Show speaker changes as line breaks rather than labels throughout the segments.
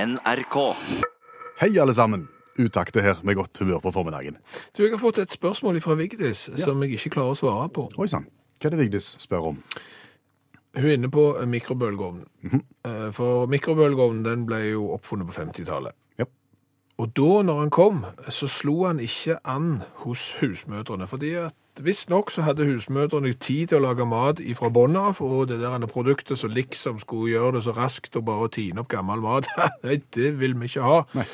NRK.
Hei, alle sammen. Utakte her med godt humør på formiddagen.
Du, jeg har fått et spørsmål fra Vigdis som jeg ikke klarer å svare på.
Oi sann. Hva er det Vigdis spør om?
Hun er inne på mikrobølgeovnen. Eh, For mikrobølgeovnen den ble jo oppfunnet på 50-tallet.
Japp.
Og da, når han kom, så slo han ikke an hos husmødrene, fordi at Visstnok så hadde husmødrene tid til å lage mat ifra bånn av, og det der andre produktet som liksom skulle gjøre det så raskt og bare tine opp gammel mat, nei, det vil vi ikke ha.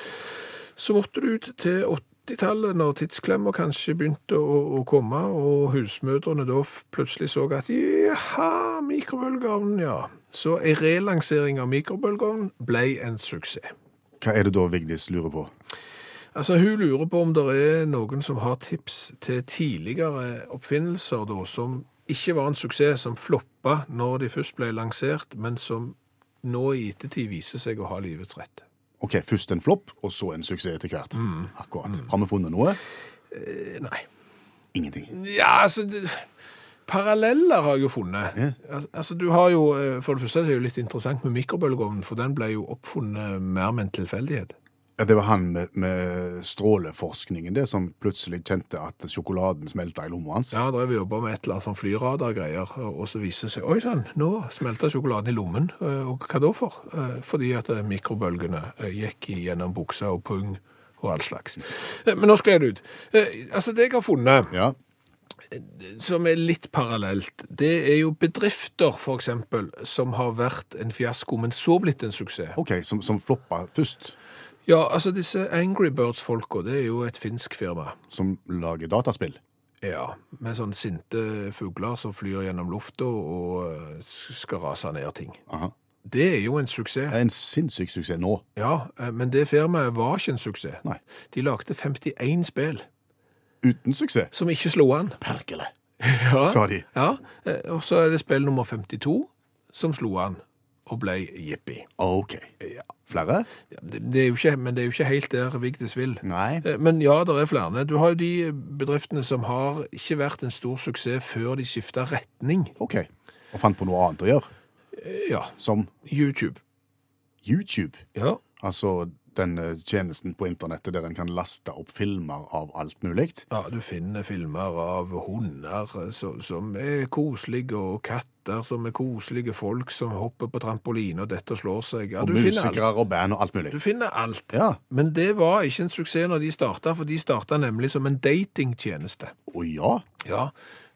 Så måtte du ut til 80-tallet, når tidsklemmer kanskje begynte å, å komme, og husmødrene da f- plutselig så at jaha, mikrobølgeovnen, ja. Så en relansering av mikrobølgeovnen ble en suksess.
Hva er det da Vigdis lurer på?
Altså, Hun lurer på om det er noen som har tips til tidligere oppfinnelser da, som ikke var en suksess, som floppa når de først ble lansert, men som nå i ettertid viser seg å ha livets rett.
Ok, Først en flopp, og så en suksess etter hvert.
Mm.
Akkurat. Har vi funnet noe?
Eh, Nei.
Ingenting.
Ja, altså det, Paralleller har jeg jo funnet. Al- Altså, du har jo, eh, For det første er det jo litt interessant med mikrobølgeovnen, for den ble jo oppfunnet mer med en tilfeldighet.
Ja, Det var han med, med stråleforskningen det som plutselig kjente at sjokoladen smelta i lomma hans.
Ja, drev og jobba med et eller annet sånn flyradar-greier, og så viser det seg Oi sann, nå smelta sjokoladen i lommen. Eh, Og hva da for? Eh, Fordi at eh, mikrobølgene eh, gikk gjennom buksa og pung og all slags. Eh, Men nå skled det ut. Eh, Altså, det jeg har funnet
Ja.
som er litt parallelt, det er jo bedrifter, for eksempel, som har vært en fiasko, men så blitt en suksess.
OK, som, som floppa først.
Ja, altså disse Angry Birds-folka, det er jo et finsk firma.
Som lager dataspill.
Ja, med sånn sinte fugler som flyr gjennom lufta og eh, skal rase ned ting.
Aha.
Det er jo en suksess.
Det er En sinnssyk suksess nå.
Ja, eh, men det firmaet var ikke en suksess.
Nei.
De lagde 51 spill
Uten suksess.
som ikke slo an.
Perkele,
Ja.
sa de.
Ja, eh, og så er det spill nummer 52 som slo an og ble jippi.
OK. Flere?
Ja, Det, det er jo ikke, men det er jo ikke helt der Vigdis vil.
Nei.
Eh, Men ja, det er flere. Du har jo de bedriftene som har ikke vært en stor suksess før de skifta retning.
OK. Og fant på noe annet å gjøre.
Eh, Ja,
Som
YouTube.
YouTube.
Ja.
Altså den eh, tjenesten på internettet der en kan laste opp filmer av alt mulig.
ja, du finner filmer av hunder eh, så, som er koselige, og katter som er koselige, folk som hopper på trampoline og dette slår seg. Ja,
Og
du finner alt.
musikere og band og alt
Du
mulig.
finner alt.
Ja.
Men det var ikke en suksess når de starta, for de starta nemlig som en datingtjeneste.
Å ja.
Ja,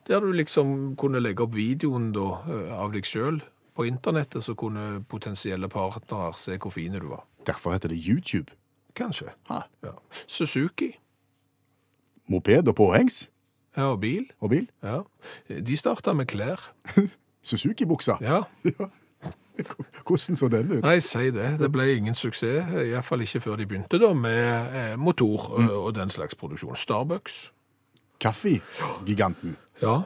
der du liksom kunne legge opp videoen da, eh, av deg sjøl på internettet, så kunne potensielle partnere se hvor fine du var.
Derfor heter det YouTube.
Kanskje.
Ha.
Ja. Suzuki
Moped og påhengs
ja, og bil.
og bil.
Ja. De starta med klær.
Suzuki-buksa.
Ja,
Hvordan så den ut?
Nei, si det. Det ble ingen suksess. Iallfall ikke før de begynte da, med eh, motor eh, og den slags produksjon. Starbucks.
Kaffegiganten.
Ja.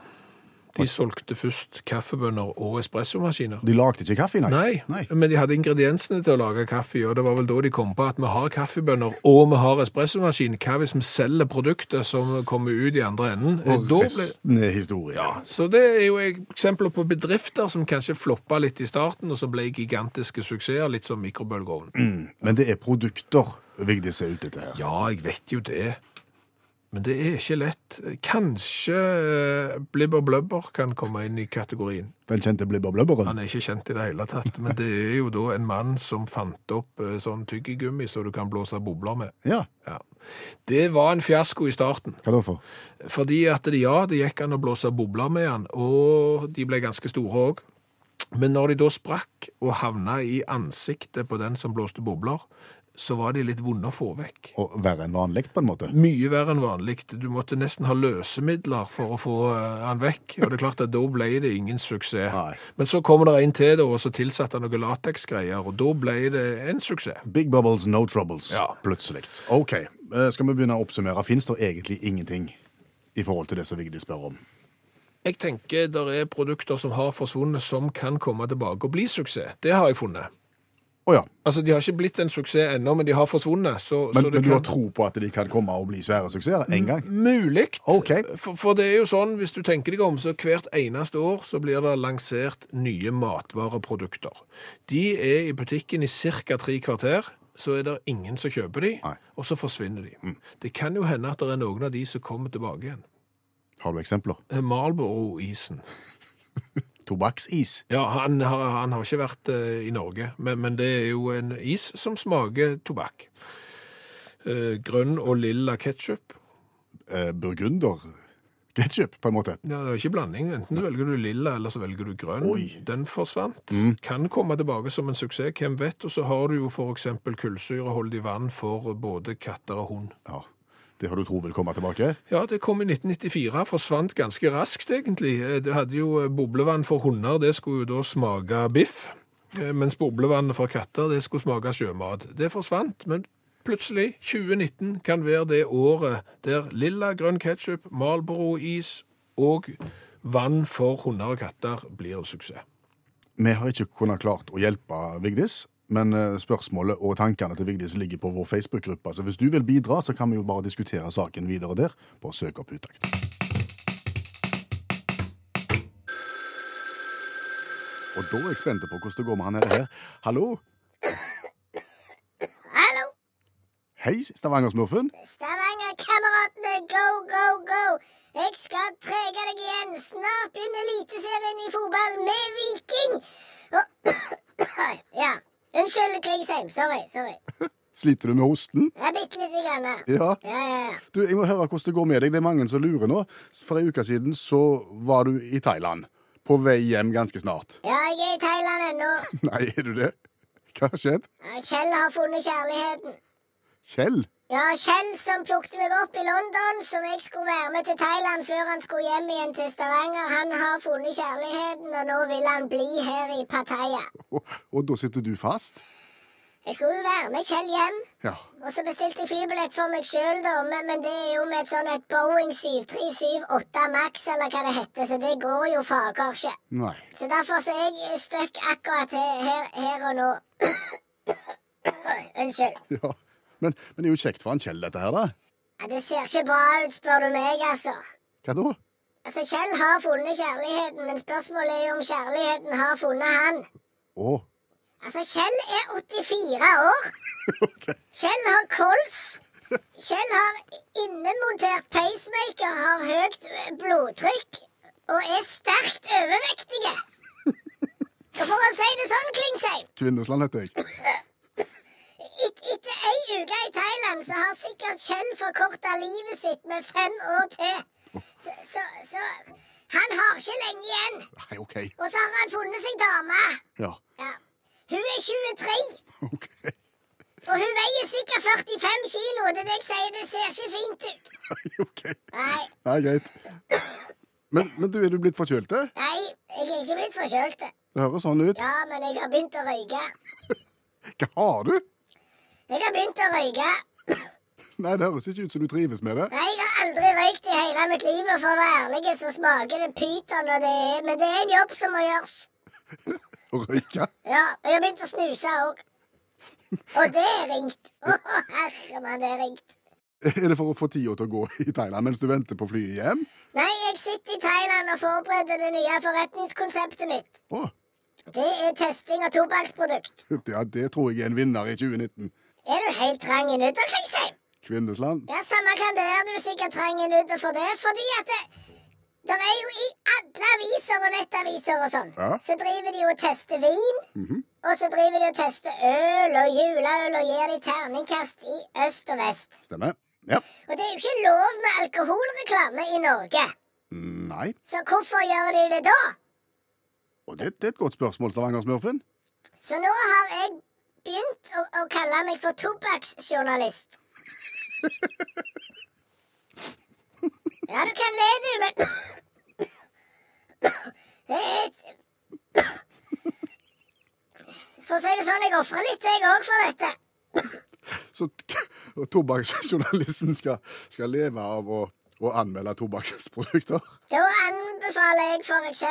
De solgte først kaffebønner og espressomaskiner.
De lagde ikke kaffe, nei?
Nei, men de hadde ingrediensene til å lage kaffe, og det var vel da de kom på at vi har kaffebønner og vi har espressomaskin. Hva hvis vi selger produktet som kommer ut i andre enden? Eh,
Og
Da ble...
resten er historie.
ja, så det er jo eksempler på bedrifter som kanskje floppa litt i starten, og som ble gigantiske suksesser, litt som mikrobølgeovn.
Mm. Men det er produkter Vigdis er ute etter her.
Ja, jeg vet jo det. Men det er ikke lett. Kanskje eh, Blibber Blubber kan komme inn i kategorien.
Den kjente Blibber Blubberen.
Han er ikke kjent i det hele tatt, men det er jo da en mann som fant opp eh, sånn tyggegummi så du kan blåse bobler med.
Ja.
Ja. Det var en fiasko i starten,
Hva da for?
fordi at det, ja, det gikk an å blåse bobler med han, og de ble ganske store òg. Men når de da sprakk og havna i ansiktet på den som blåste bobler, så var de litt vonde å få vekk.
Å være enn vanlig, på en måte?
Mye verre enn vanlig. Du måtte nesten ha løsemidler for å få eh, han vekk. Og det er klart at da ble det ingen suksess.
Nei.
Men så kommer det en til, da, og så tilsatte han noen lateksgreier, og da ble det en suksess.
Big bubbles, no troubles,
Ja.
plutselig. OK, eh, skal vi begynne å oppsummere? Fins det egentlig ingenting i forhold til det som Vigdis spør om?
Jeg tenker det er produkter som har forsvunnet, som kan komme tilbake og bli suksess. Det har jeg funnet.
Å ja,
Altså, De har ikke blitt en suksess ennå, men de har forsvunnet. Så,
men,
så
men
det
du har
kan- Mm.
tro på at de kan komme og bli svære suksesser en gang?
Mulig.
Ok.
For, for det er jo sånn, hvis du tenker deg om, så hvert eneste år så blir det lansert nye matvareprodukter. De er i butikken i cirka tre kvarter, så er det ingen som kjøper de,
Nei. Mm.
og så forsvinner de. Det kan jo hende at det er noen av de som kommer tilbake igjen.
Har du eksempler?
Eh, Marlboro-isen.
Tobakksis.
Ja, han har, han har ikke vært eh, i Norge, men, men det er jo en is som smaker tobakk. Eh, grønn og lilla ketsjup.
Eh, burgunder. Ketchup, på en måte.
Ja, det er ikke blanding. Enten så velger du lilla, eller så velger du grønn.
Oi.
Den forsvant. Kan komme tilbake som en suksess, hvem vet. Og så har du jo f.eks. kullsyreholdig vann for både katter og hund.
Ja, Det har du tro vil komme tilbake?
Ja, det kom i 1994. Forsvant ganske raskt, egentlig. Eh, Det hadde jo eh, boblevann for hunder, det skulle jo da smake biff. Eh, Mens boblevannet for katter, det skulle smake sjømat. Det forsvant, men plutselig, 2019 kan være det året der lilla grønn ketsjup, Marlboro-is og vann for hunder og katter blir en suksess.
Vi har ikke kunnet klart å hjelpe Vigdis, men eh, spørsmålet og tankene til Vigdis ligger på vår Facebook-gruppe. Så hvis du vil bidra, så kan vi jo bare diskutere saken videre der på Søk opp utakt. Og da er jeg spent på hvordan det går med han her. her. Hallo?
Hallo,
Hei, Stavanger-smurfen.
Stavanger-kameratene, go, go, go! Jeg skal trege deg igjen. Snart begynner Eliteserien i fotball med Viking. Og Ja. Unnskyld, Klingsheim. Sorry. sorry.
Sliter du med hosten?
Ja, Bitte lite grann. her.
Ja.
Ja, ja, ja.
Du, Jeg må høre hvordan det går med deg. Det er mange som lurer nå. For ei uke siden så var du i Thailand. På vei hjem ganske snart.
Ja, jeg er i Thailand ennå.
Nei, er du det? Hva har skjedd?
Ja, Kjell har funnet kjærligheten.
Kjell?
Ja, Kjell som plukket meg opp i London, som jeg skulle være med til Thailand før han skulle hjem igjen til Stavanger, han har funnet kjærligheten, og nå vil han bli her i Pattaya.
Og, og da sitter du fast?
Jeg skulle jo være med Kjell hjem.
Ja.
Og så bestilte jeg flybillett for meg sjøl, da, men, men det er jo med et sånn et Boeing 7378 Max, eller hva det heter, så det går jo fager ikke.
Nei.
Så derfor så er jeg stuck akkurat he- her, her og nå. Unnskyld.
Ja. Men, men det er jo kjekt for han Kjell, dette her, da.
Ja, det ser ikke bra ut, spør du meg, altså.
Hva da?
Altså, Kjell har funnet kjærligheten, men spørsmålet er jo om kjærligheten har funnet han.
Å.
Altså, Kjell er 84 år.
ok.
Kjell har kols. Kjell har innemontert pacemaker, har høyt blodtrykk og er sterkt overvektige. Og for å si det sånn, Klingsheim,
Kvinnesland heter jeg.
et, etter ei uke i Thailand så har sikkert Kjell forkorta livet sitt med fem år til. Så, så, så han har ikke lenge igjen.
Nei, OK.
Og så har han funnet seg dame.
Ja.
Ja. Hun er 23.
OK.
Og hun veier sikkert 45 kilo. Det er det jeg sier, det ser ikke fint ut.
Nei, ok.
Nei,
Nei, greit. Men, men du, er du blitt forkjølt? det?
nei, jeg er ikke blitt forkjølt.
Det høres sånn ut.
Ja, men jeg har begynt å røyke.
Hva har du?
Jeg har begynt å røyke.
Nei, det høres ikke ut som du trives med det.
Nei, jeg har aldri røykt i hele mitt liv, og for å være ærlig så smaker det pyton, og det er Men det er en jobb som må gjøres.
Å røyke.
Ja, og jeg har begynt å snuse òg. Og det er ringt. Å, herre mann, det er ringt.
Er det for å få tida til å gå i Thailand mens du venter på flyet hjem?
Nei, jeg sitter i Thailand og forbereder det nye forretningskonseptet mitt.
Å,
Det er testing av tobakksprodukt.
ja, det tror jeg er en vinner i 2019.
Er du helt trang i nudder, Klingsheim?
Kvinnesland.
Ja, samme kan det være, du er sikkert trang i nudder for det. Fordi at det, der er jo i alle aviser og nettaviser og sånn,
Ja.
så driver de jo og tester vin. Og så driver de og tester øl og juleøl og gir de terningkast i øst og vest.
Stemmer. Ja.
Og det er jo ikke lov med alkoholreklame i Norge.
Nei.
Så hvorfor gjør de det da?
Og det, det er et godt spørsmål, Stavanger-smurfen.
Så nå har jeg begynt å, å kalle meg for tobakksjournalist. Ja, du kan le, du, men Det er et For å si det sånn, jeg ofrer litt, jeg òg, for dette.
Så t- og tobakksjournalisten skal, skal leve av å, å anmelde tobakksprodukter.
Da anbefaler jeg f.eks.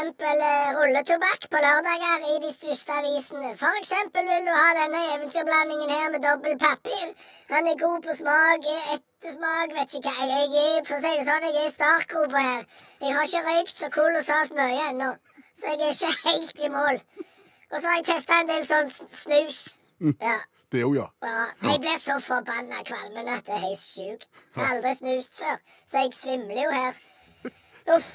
rulletobakk på lørdager i de største avisene. F.eks. vil du ha denne eventyrblandingen her med dobbelt papir. Han er god på smak, er ettersmak, vet ikke hva jeg, jeg er. For å si det sånn, jeg er i startgropa her. Jeg har ikke røykt så kolossalt mye ennå, så jeg er ikke helt i mål. Og så har jeg testa en del sånn s- snus. Ja.
Det òg, ja.
Ja, jeg ble så forbanna kvalmen at det er helt sjukt. Jeg har Aldri snust før, så jeg svimler jo her. Uff.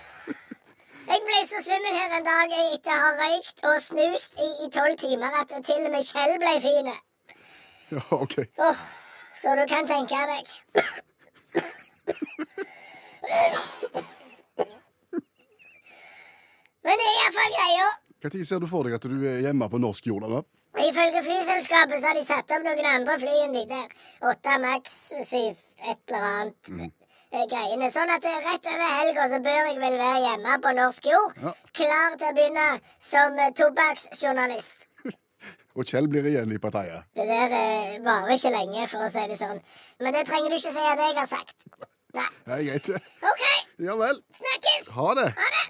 Jeg ble så svimmel her en dag jeg etter å ha røykt og snust i i tolv timer at til og med Kjell ble fin.
ja. OK.
Åh, så du kan tenke deg. Men det er iallfall greia.
Når ser du for deg at du er hjemme på norsk jord? Anna?
Ifølge flyselskapet så har de satt opp noen andre fly enn de der. Åtte maks syv, et eller annet. eh, Greiene. Sånn at eh, rett over helga så bør jeg vel være hjemme på norsk jord.
Ja.
Klar til å begynne som eh, tobakksjournalist.
Og Kjell blir igjen i partiet.
Det der eh, varer ikke lenge, for å si det sånn. Men det trenger du ikke si at jeg har sagt. Nei.
Det er greit, det.
OK,
Ja vel.
snakkes!
Ha det.
Ha det!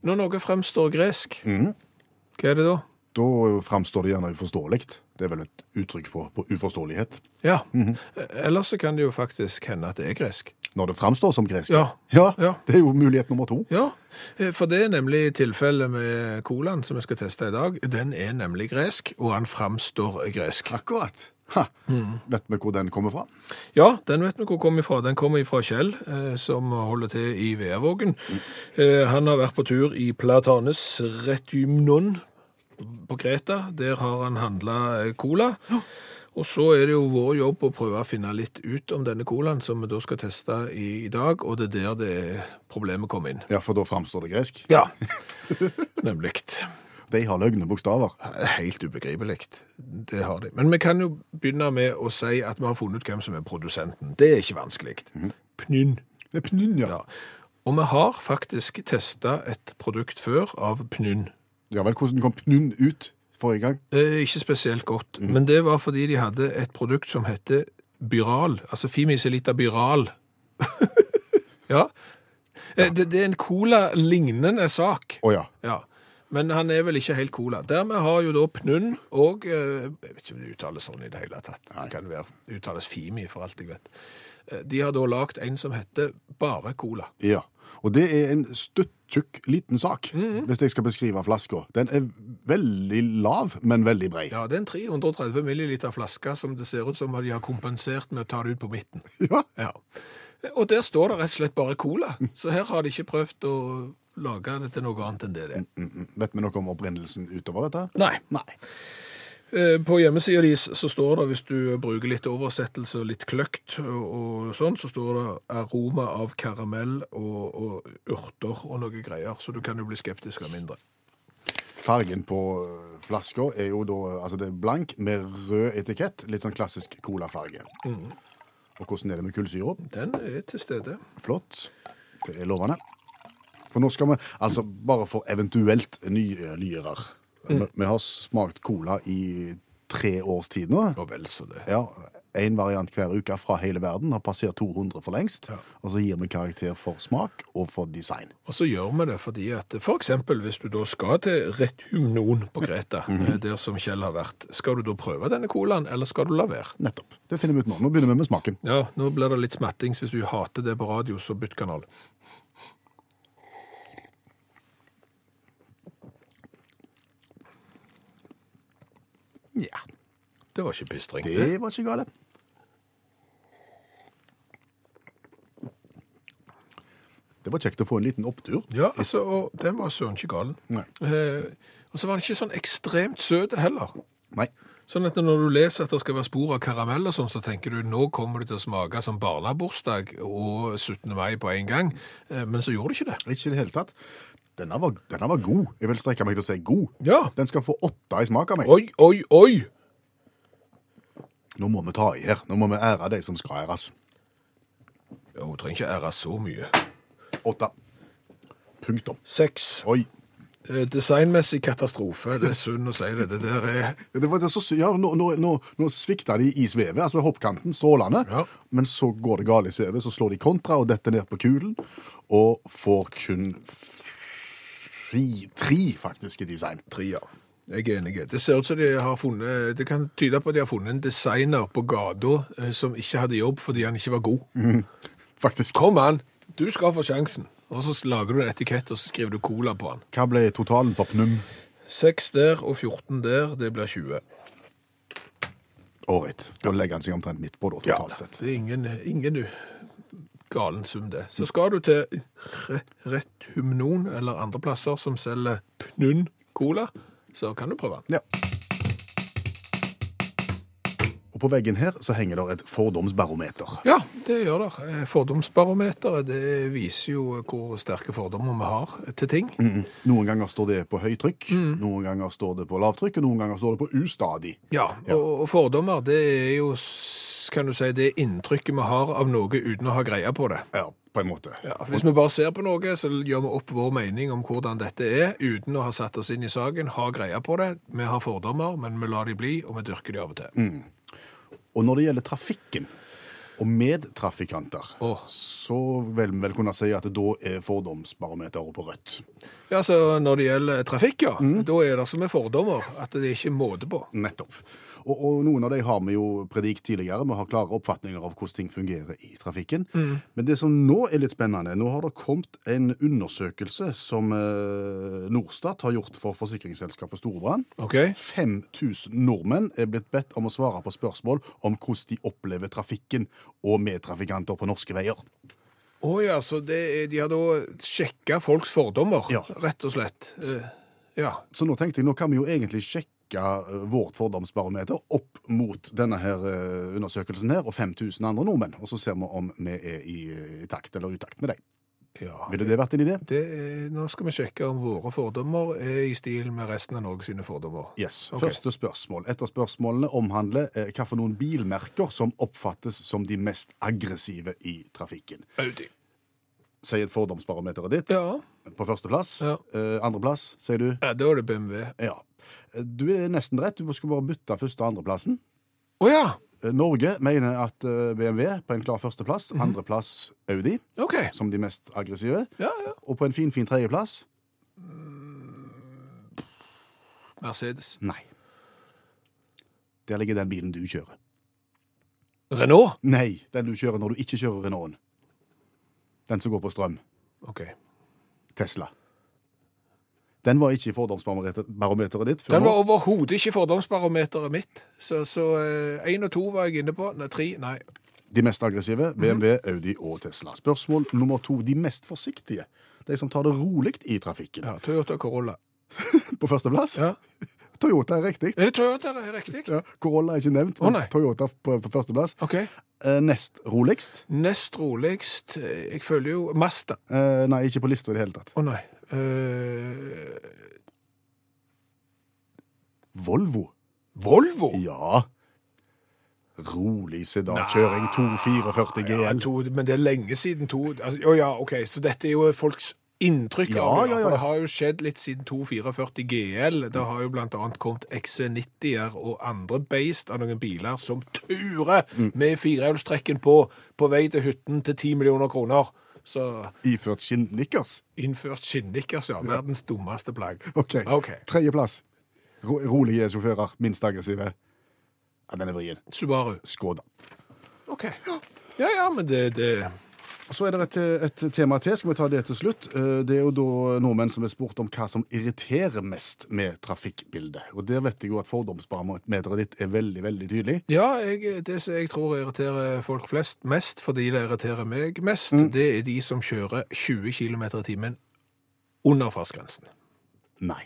Når noe fremstår gresk, hva er det da?
Da framstår det gjerne uforståelig. Det er vel et uttrykk på, på uforståelighet.
Ja. Eh, Ellers så kan det jo faktisk hende at det er gresk.
Når det framstår som gresk.
Ja.
Ja,
Ja.
Det er jo mulighet nummer to.
Ja, eh, for det er nemlig tilfellet med colaen som vi skal teste i dag. Den er nemlig gresk, og han framstår gresk.
Akkurat. Ha. Vet vi hvor den kommer fra?
Ja, den vet vi hvor kommer ifra. Den kommer ifra Kjell, eh, som holder til i Veavågen. Eh, han har vært på tur i Platanes Retymnon på Kreta. Der har han handla cola. Og så er det jo vår jobb å prøve å finne litt ut om denne colaen, som vi da skal teste i, i dag, og det er der det problemet kom inn.
Ja, for da framstår det gresk.
Ja. Nemlig.
De har løgne bokstaver.
Eh, Helt ubegripelig. Det har de. Men vi kan jo begynne med å si at vi har funnet ut hvem som er produsenten. Det er ikke vanskelig. Pnynn.
Det er pnynn, ja.
Ja. Og vi har faktisk testa et produkt før av Pnynn.
Ja vel, hvordan kom pnynn ut forrige gang?
Eh, ikke spesielt godt, men det var fordi de hadde et produkt som hette Byral. Altså Fimicelita Byral. ja. Eh, Det, det er en cola-lignende sak.
Å ja.
Ja. Men han er vel ikke helt cola. Dermed har jo da Pnunn og eh, Jeg vet ikke om det uttales sånn i det hele tatt. Det kan være uttales Fimi, for alt jeg vet. Eh, De har da lagd en som heter Bare Cola.
Ja. Og det er en støtttjukk liten sak, hvis jeg skal beskrive flaska. Den er veldig lav, men veldig brei.
Ja, det er en 330 milliliter flaske som det ser ut som at de har kompensert med å ta det ut på midten.
Ja.
Ja. Og der står det rett og slett bare Cola. Så her har de ikke prøvd å lage det til noe annet enn det det er.
Mhm. Vet vi noe om opprinnelsen utover dette?
Nei. Eh, På hjemmesida deres så står det, hvis du bruker litt oversettelse og litt kløkt og, og sånn, så står det aroma av karamell og, og urter og noe greier, så du kan jo bli skeptisk av mindre.
Fargen på øh, flaska er jo da altså det er blank med rød etikett. Litt sånn klassisk colafarge. Og hvordan er det med kullsyra?
Den er til stede.
Flott. Det er lovende. For nå skal vi altså bare for eventuelt nye lyere. Vi, vi har smakt cola i tre års tid nå.
Og vel så det.
Ja, Én variant hver uke fra hele verden. Har passert 200 for lengst. Og så gir vi karakter for smak og for design.
Og så gjør vi det fordi at for eksempel hvis du da skal til Rethymnon på Greta, eh, der som Kjell har vært, skal du da prøve denne colaen, eller skal du la være?
Nettopp. Det finner vi ut nå. Nå begynner vi med smaken.
Ja, nå blir det litt smattings. Hvis du hater det på radio, så bytt kanal.
Ja,
Det var ikke pistring.
Det var ikke gale. Det var kjekt å få en liten opptur.
Ja, altså, og den var søren ikke galen.
Nei.
Eh, og så var den ikke sånn ekstremt søt heller.
Nei.
Sånn at når du leser at det skal være spor av karamell og sånn, så tenker du nå kommer det til å smake som barnebursdag og 17. mai på en gang. Eh, men så gjorde det ikke det.
Ikke i det hele tatt. Denne var, denne var god. Jeg vil strekke meg til å si god.
Ja.
Den skal få åtte i smak av meg.
Oi, oi, oi!
Nå må vi ta i her. Nå må vi ære de som skal æres.
Ja, Hun trenger ikke ære så mye.
Åtte. Punktum.
Seks.
Oi.
Eh, designmessig katastrofe. Det er synd å si det. Det der er
Det var, det er så, sy- ja, nå, nå, nå, nå svikta de i svevet, altså ved hoppkanten, strålende.
Ja.
Men så går det galt i svevet, så slår de kontra og detter ned på kulen. Og får kun f- fri, tre, faktisk, i design.
Tria. Jeg er enig. Det ser ut som de har funnet Det kan tyde på at de har funnet en designer på gata eh, som ikke hadde jobb fordi han ikke var god.
Faktisk.
Kom an, du skal få sjansen. Og så lager du en etikett og så skriver du cola på den.
Hva ble totalen for Pnum?
Seks der og 14 der, det blir 20.
Ålreit. Da legger han seg omtrent midt på, da, totalt sett.
Det er ingen, ingen galen sum, det. Så skal du til Re- Retumnon eller andre plasser som selger Pnunn Cola, så kan du prøve den.
Ja. Og på veggen her så henger det et fordomsbarometer.
Ja, det gjør det. Eh, Fordomsbarometeret det viser jo hvor sterke fordommer vi har til ting.
Mm. Noen ganger står det på høytrykk, noen ganger står det på lavtrykk, og noen ganger står det på ustadig.
Ja, og, og fordommer det er jo, s- kan du si, det inntrykket vi har av noe uten å ha greie på det.
Ja, på en måte.
Ja, hvis vi bare ser på noe, så gjør vi opp vår mening om hvordan dette er, uten å ha satt oss inn i saken, har greie på det. Vi har fordommer, men vi lar de bli, og vi dyrker de av og til.
Og når det gjelder trafikken og medtrafikanter,
Åh.
så vil vi vel kunne si at da er fordomsbarometeret på rødt.
Ja, så Når det gjelder trafikk, ja, da er det som med fordommer, at det er ikke måte på.
Nettopp. Og, og noen av de har vi jo predikt tidligere. Vi har klare oppfatninger av hvordan ting fungerer i trafikken. Men det som nå er litt spennende, nå har det kommet en undersøkelse som eh, Norstat har gjort for forsikringsselskapet Storbrann.
Ok?
5000 nordmenn er blitt bedt om å svare på spørsmål om hvordan de opplever trafikken og medtrafikanter på norske veier.
Å ja, så det er, de har da sjekka folks fordommer,
Ja.
rett og slett. Eh, ja.
Så nå tenkte jeg, nå kan vi jo egentlig sjekke eh, vårt fordomsbarometer opp mot denne her eh, undersøkelsen her, og 5000 andre nordmenn, og så ser vi om vi er i, eh, i takt eller utakt med deg.
ja.
Ville det vært en idé?
Det er, nå skal vi sjekke om våre fordommer er i stil med resten av Norge sine fordommer.
Yes.
Ok.
Første spørsmål. Et av spørsmålene omhandler eh, hva for noen bilmerker som oppfattes som de mest aggressive i trafikken.
Audi.
Sier fordomsbarometeret ditt
Ja.
på førsteplass.
Ja.
Eh, andreplass, sier du?
ja, da er det BMW.
Ja. Eh, Du er nesten rett. Du skulle bare bytte første- og andreplassen.
Å ja,
Eh, Norge mener at eh, BMW på en klar førsteplass,
Mhm.
andreplass Audi
ok.
som de mest aggressive,
Ja, ja.
og på en fin, fin tredjeplass
Mercedes.
nei. Der ligger den bilen du kjører.
Renault.
Nei, den du kjører når du ikke kjører Renaulten. Den som går på strøm.
Ok.
Tesla. Den var ikke i fordomsbarometeret ditt før
Den var
nå.
overhodet ikke fordomsbarometeret mitt. Så, så eh, en og to var jeg inne på. Nei, tre, nei.
De mest aggressive,
Mhm.
BMW, Audi og Tesla. Spørsmål nummer to. De mest forsiktige. De som tar det rolig i trafikken.
Ja, Toyota Corolla.
På førsteplass,
Ja.
Toyota er riktig.
Er det Toyota det er riktig?
Ja, Corolla er ikke nevnt,
Å,
men
nei.
Toyota på, på førsteplass.
Ok.
Eh, nest roligst?
Nest roligst, eh, jeg føler jo Mazda.
Eh, nei, ikke på lista i det hele tatt.
Å nei. Eh,
Volvo?
Volvo?
Ja. Rolig sedankjøring, 244
Ja,
GL.
to, men det er lenge siden to altså, Å ja, OK, så dette er jo folks inntrykk
Ja,
av det.
ja, ja.
For det har jo skjedd litt siden 244 GL. Det har jo blant annet kommet XC90-er og andre beist av noen biler som turer
Mm.
med firehjulstrekken på på vei til hytten til 10 millioner kroner. Så
Iført skinnnikkers.
innført skinnnikkers, ja. Verdens dummeste plagg.
OK.
Ok.
Tredjeplass. Ro rolige sjåfører. Minst aggressive. Ja, den er vrien.
Subaru.
Skoda.
OK. Ja ja, men det, det
Så er det et, et tema til. Skal vi ta det til slutt? Eh, Det er jo da nordmenn som er spurt om hva som irriterer mest med trafikkbildet. Og der vet jeg jo at fordomsbarometeret ditt er veldig, veldig tydelig.
Ja, jeg, det som jeg tror irriterer folk flest mest, fordi det irriterer meg mest,
Mm.
det er de som kjører 20 km i timen under fartsgrensen.
Nei.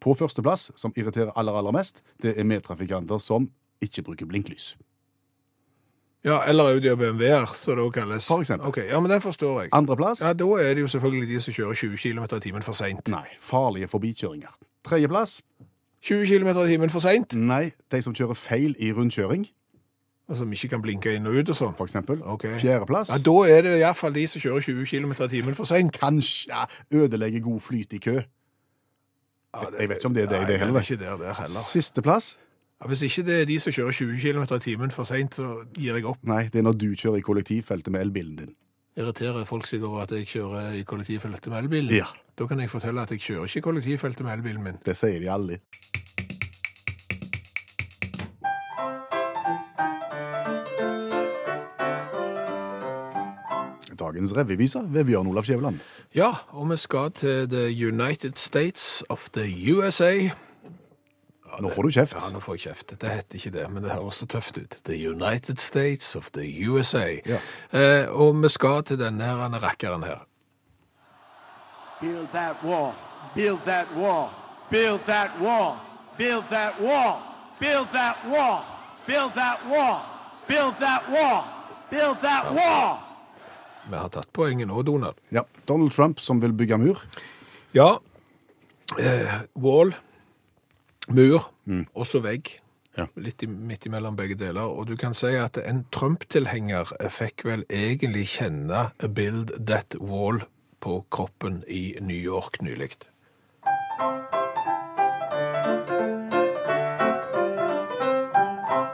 På førsteplass, som irriterer aller, aller mest, det er medtrafikanter som ikke bruker blinklys.
Ja, eller Audi og BMW-er, som det også kalles.
For eksempel.
Ok, ja, men den forstår jeg.
Andreplass?
Ja, da er det jo selvfølgelig de som kjører 20 km i timen for seint.
Nei. Farlige forbikjøringer. Tredjeplass?
20 km i timen for seint,
Nei. De som kjører feil i rundkjøring,
og som ikke kan blinke inn og ut og sånn.
for eksempel.
Ok.
Fjerdeplass?
Ja, da er det iallfall de som kjører 20 km i timen for seint.
Kanskje ja, ødelegger god flyt i kø.
Ja,
Jeg vet ikke om det er det,
Nei,
det
den
heller.
er ikke der, der heller.
Sisteplass?
Ja, hvis ikke det er de som kjører 20 km i timen for seint, så gir jeg opp.
Nei, det er når du kjører i kollektivfeltet med elbilen din.
irriterer folk seg over at jeg kjører i kollektivfeltet med elbilen.
Ja.
Da kan jeg fortelle at jeg kjører ikke i kollektivfeltet med elbilen min.
Det sier de aldri. Dagens revyvise ved Bjørn Olav Skjæveland.
Ja, og vi skal til The United States of the USA.
Nå får du kjeft.
Ja, nå får jeg kjeft. Det heter ikke det, men det høres så tøft ut. The United States of the USA.
Ja.
Eh, og vi skal til denne her, denne rakkeren her.
Build that wall. Build that wall. Build that wall. Build that wall. Build that wall. Build that wall. Build that wall. Build that wall.
Vi har tatt poenget nå, Donald.
Ja. Donald Trump som vil bygge mur.
Ja. Eh, wall, mur, også vegg.
Ja.
Litt i, midt imellom begge deler. Og du kan si at en Trump-tilhenger eh, fikk vel egentlig kjenne Build That Wall på kroppen i New York nylig.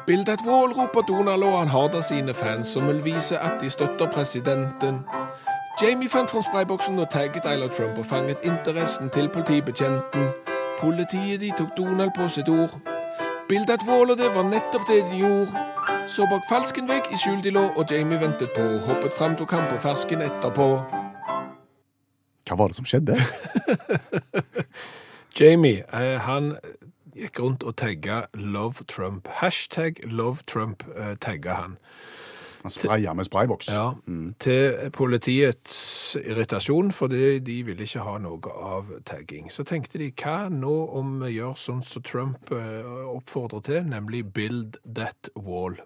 Build That Wall roper Donald, og han har da sine fans som vil vise at de støtter presidenten. Jamie fant fram sprayboksen og tagget Eilert Trump og fanget interessen til politibetjenten. Politiet de tok Donald på sitt ord. Bildet at Wall og det var nettopp det de gjorde. Så bak falsken vegg i skjul de lå, og Jamie ventet på. Hoppet fram, tok han på fersken etterpå.
Hva var det som skjedde?
Jamie, eh, han gikk rundt og tagga 'Love Trump'. Hashtag 'Love Trump' eh, tagga han.
Han spraya med sprayboks.
Ja, Til politiets irritasjon, fordi de ville ikke ha noe av tagging. Så tenkte de hva nå om vi gjør sånn som Trump eh, oppfordrer til, nemlig 'build that wall'.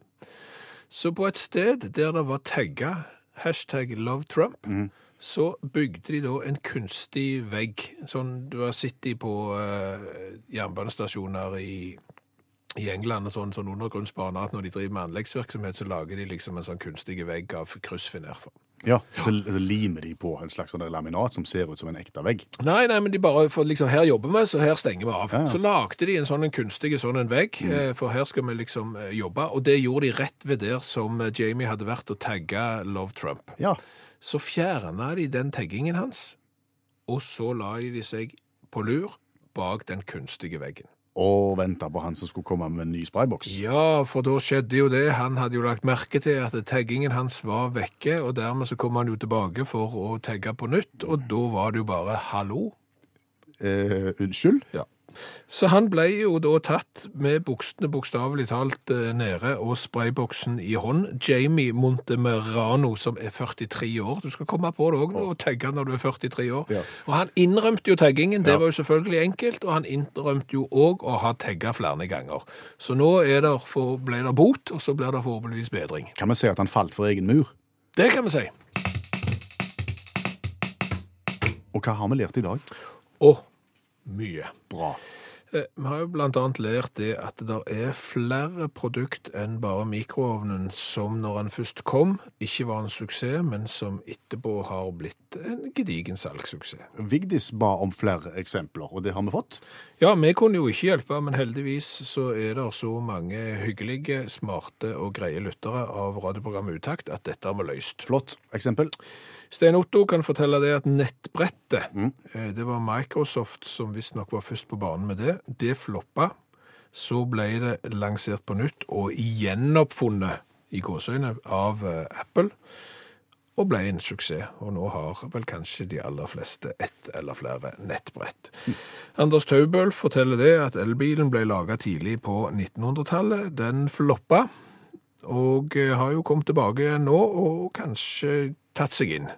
Så på et sted der det var tagga hashtag 'love Trump', så bygde de da en kunstig vegg. Sånn du har sett de på eh, jernbanestasjoner i i England og sånn, sånn undergrunnsbaner at når de driver med anleggsvirksomhet, så lager de liksom en sånn kunstig vegg av kryssfiner.
Ja, Så l- limer de på en slags sånn laminat som ser ut som en ekte vegg.
Nei, nei, men de bare for liksom, her jobber vi, så her stenger vi av.
Ja, Mm. ja.
Så lagde de en sånn en kunstig sånn en vegg, eh, for her skal vi liksom eh, jobbe, og det gjorde de rett ved der som eh, Jamie hadde vært og tagget Love Trump.
Ja.
Så fjernet de den taggingen hans, og så la de seg på lur bak den kunstige veggen.
Og venta på han som skulle komme med en ny sprayboks.
Ja, for da skjedde jo det. Han hadde jo lagt merke til at taggingen hans var vekke, og dermed så kom han jo tilbake for å tagge på nytt, og da var det jo bare 'hallo'.
Eh, unnskyld?
Så han ble jo da tatt med buksene bokstavelig talt eh, nede og sprayboksen i hånd. Jamie Montemerano, som er 43 år. Du skal komme på det òg og tagge når du er 43 år.
Ja.
Og han innrømte jo taggingen, det
Ja.
var jo selvfølgelig enkelt. Og han innrømte jo òg å ha tagga flere ganger. Så nå er der for, ble det bot, og så blir det forhåpentligvis bedring.
Kan vi si at han falt for egen mur?
Det kan vi si.
Og hva har vi lært i dag?
Og mye.
Bra.
Eh, Vi har jo blant annet lært det at det er flere produkt enn bare mikroovnen som når han først kom, ikke var en suksess, men som etterpå har blitt en gedigen salgssuksess.
Vigdis ba om flere eksempler, og det har vi fått.
Ja, vi kunne jo ikke hjelpe, men heldigvis så er det så mange hyggelige, smarte og greie lyttere av radioprogrammet Utakt at dette har vi løst.
Flott eksempel.
Stein Otto kan fortelle det at nettbrettet, eh, det var Microsoft som visstnok var først på banen med det, det floppa. Så ble det lansert på nytt og gjenoppfunnet i gåsøyne av eh, Apple, og ble en suksess. Og nå har vel kanskje de aller fleste ett eller flere nettbrett. Anders Taubøl forteller det at elbilen ble laget tidlig på 1900-tallet. Den floppa og eh, har jo kommet tilbake igjen nå og kanskje tatt seg inn.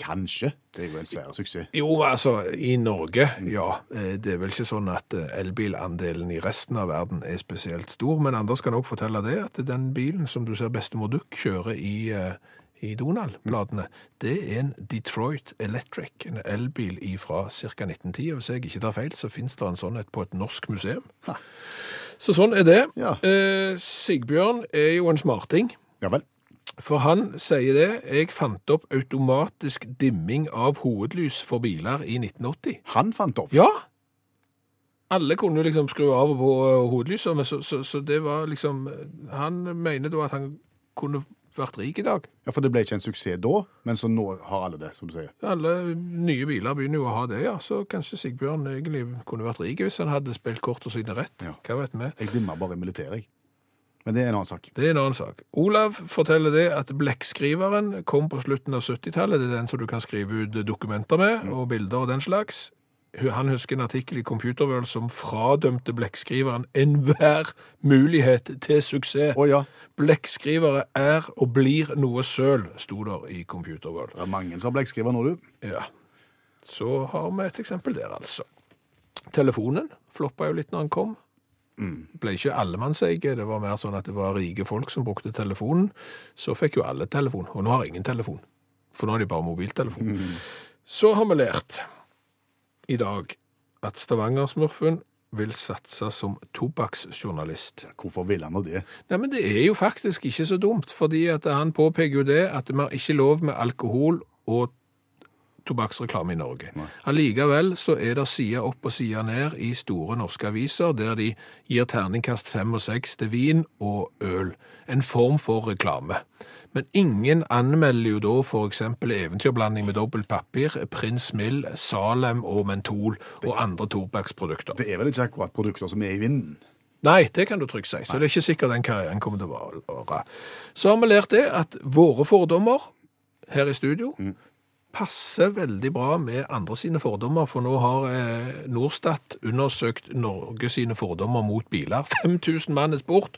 Kanskje. Det er jo en svær suksess.
Jo, altså, i Norge, ja. eh, Det er vel ikke sånn at eh, elbilandelen i resten av verden er spesielt stor, men Anders kan også fortelle det at den bilen som du ser bestemor Duck kjører i, eh, i Donald-bladene, det er en Detroit Electric, en elbil fra ca. 1910. Og hvis jeg ikke tar feil, så finnes det en sånn et på et norsk museum.
Ha.
Så sånn er det.
Ja.
Eh, Sigbjørn er jo en smarting.
Ja vel.
For han sier det, jeg fant opp automatisk dimming av hovedlys for biler i 1980.
Han fant opp.
Ja! Alle kunne jo liksom skru av og på eh, hovedlyset, men så, så, så det var liksom Han mener da at han kunne vært rik i dag.
Ja, For det ble ikke en suksess da, men så nå har alle det, som du sier.
Alle nye biler begynner jo å ha det, ja. Så kanskje Sigbjørn egentlig kunne vært rik hvis han hadde spilt kortene sine rett.
Ja.
Hva vet vi?
Jeg dimmer bare i militæret, jeg. Men det er en annen sak.
Det er en annen sak. Olav forteller det at blekkskriveren kom på slutten av 70-tallet. Det er den som du kan skrive ut dokumenter med, og bilder og den slags. Hu- Han husker en artikkel i Computerworld som fradømte blekkskriveren enhver mulighet til suksess.
Å ja.
Blekkskrivere er og blir noe søl, sto der i Computerworld.
Det er mange som har blekkskriver nå, du.
Ja. Så har vi et eksempel der, altså. Telefonen floppa jo litt når den kom. Ble ikke allemannseie, det var mer sånn at det var rike folk som brukte telefonen. Så fikk jo alle telefon, og nå har ingen telefon. For nå er de bare mobiltelefon. Så har vi lært i dag at Stavanger-smurfen vil satse som tobakksjournalist.
Hvorfor ville han nå det?
Nei, men det er jo faktisk ikke så dumt, fordi at han påpeker jo det at vi har ikke lov med alkohol og tobakksreklame i Norge. Allikevel så er det side opp og side ned i store norske aviser der de gir terningkast fem og seks til vin og øl. En form for reklame. Men ingen anmelder jo da f.eks. eventyrblanding med dobbelt papir, Prins Mild, Salem og Mentol og andre tobakksprodukter.
Det er vel ikke akkurat produkter som er i vinden?
Nei, det kan du trygt si. Så det er ikke sikkert den karrieren kommer til å vare. Så har vi lært det at våre fordommer her i studio passer veldig bra med andre sine fordommer, for nå har eh, Norstat undersøkt Norge sine fordommer mot biler. 5000 mann er sport,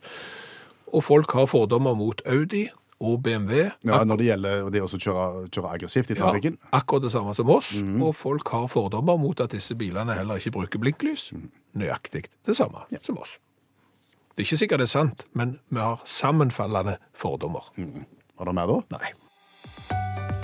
og folk har fordommer mot Audi og BMW.
Ja, Når det gjelder det å kjøre, kjøre aggressivt i trafikken?
akkurat det samme som oss, og folk har fordommer mot at disse bilene heller ikke bruker blinklys. Nøyaktig det samme som oss. Det er ikke sikkert det er sant, men vi har sammenfallende fordommer.
Var det mer da?
Nei.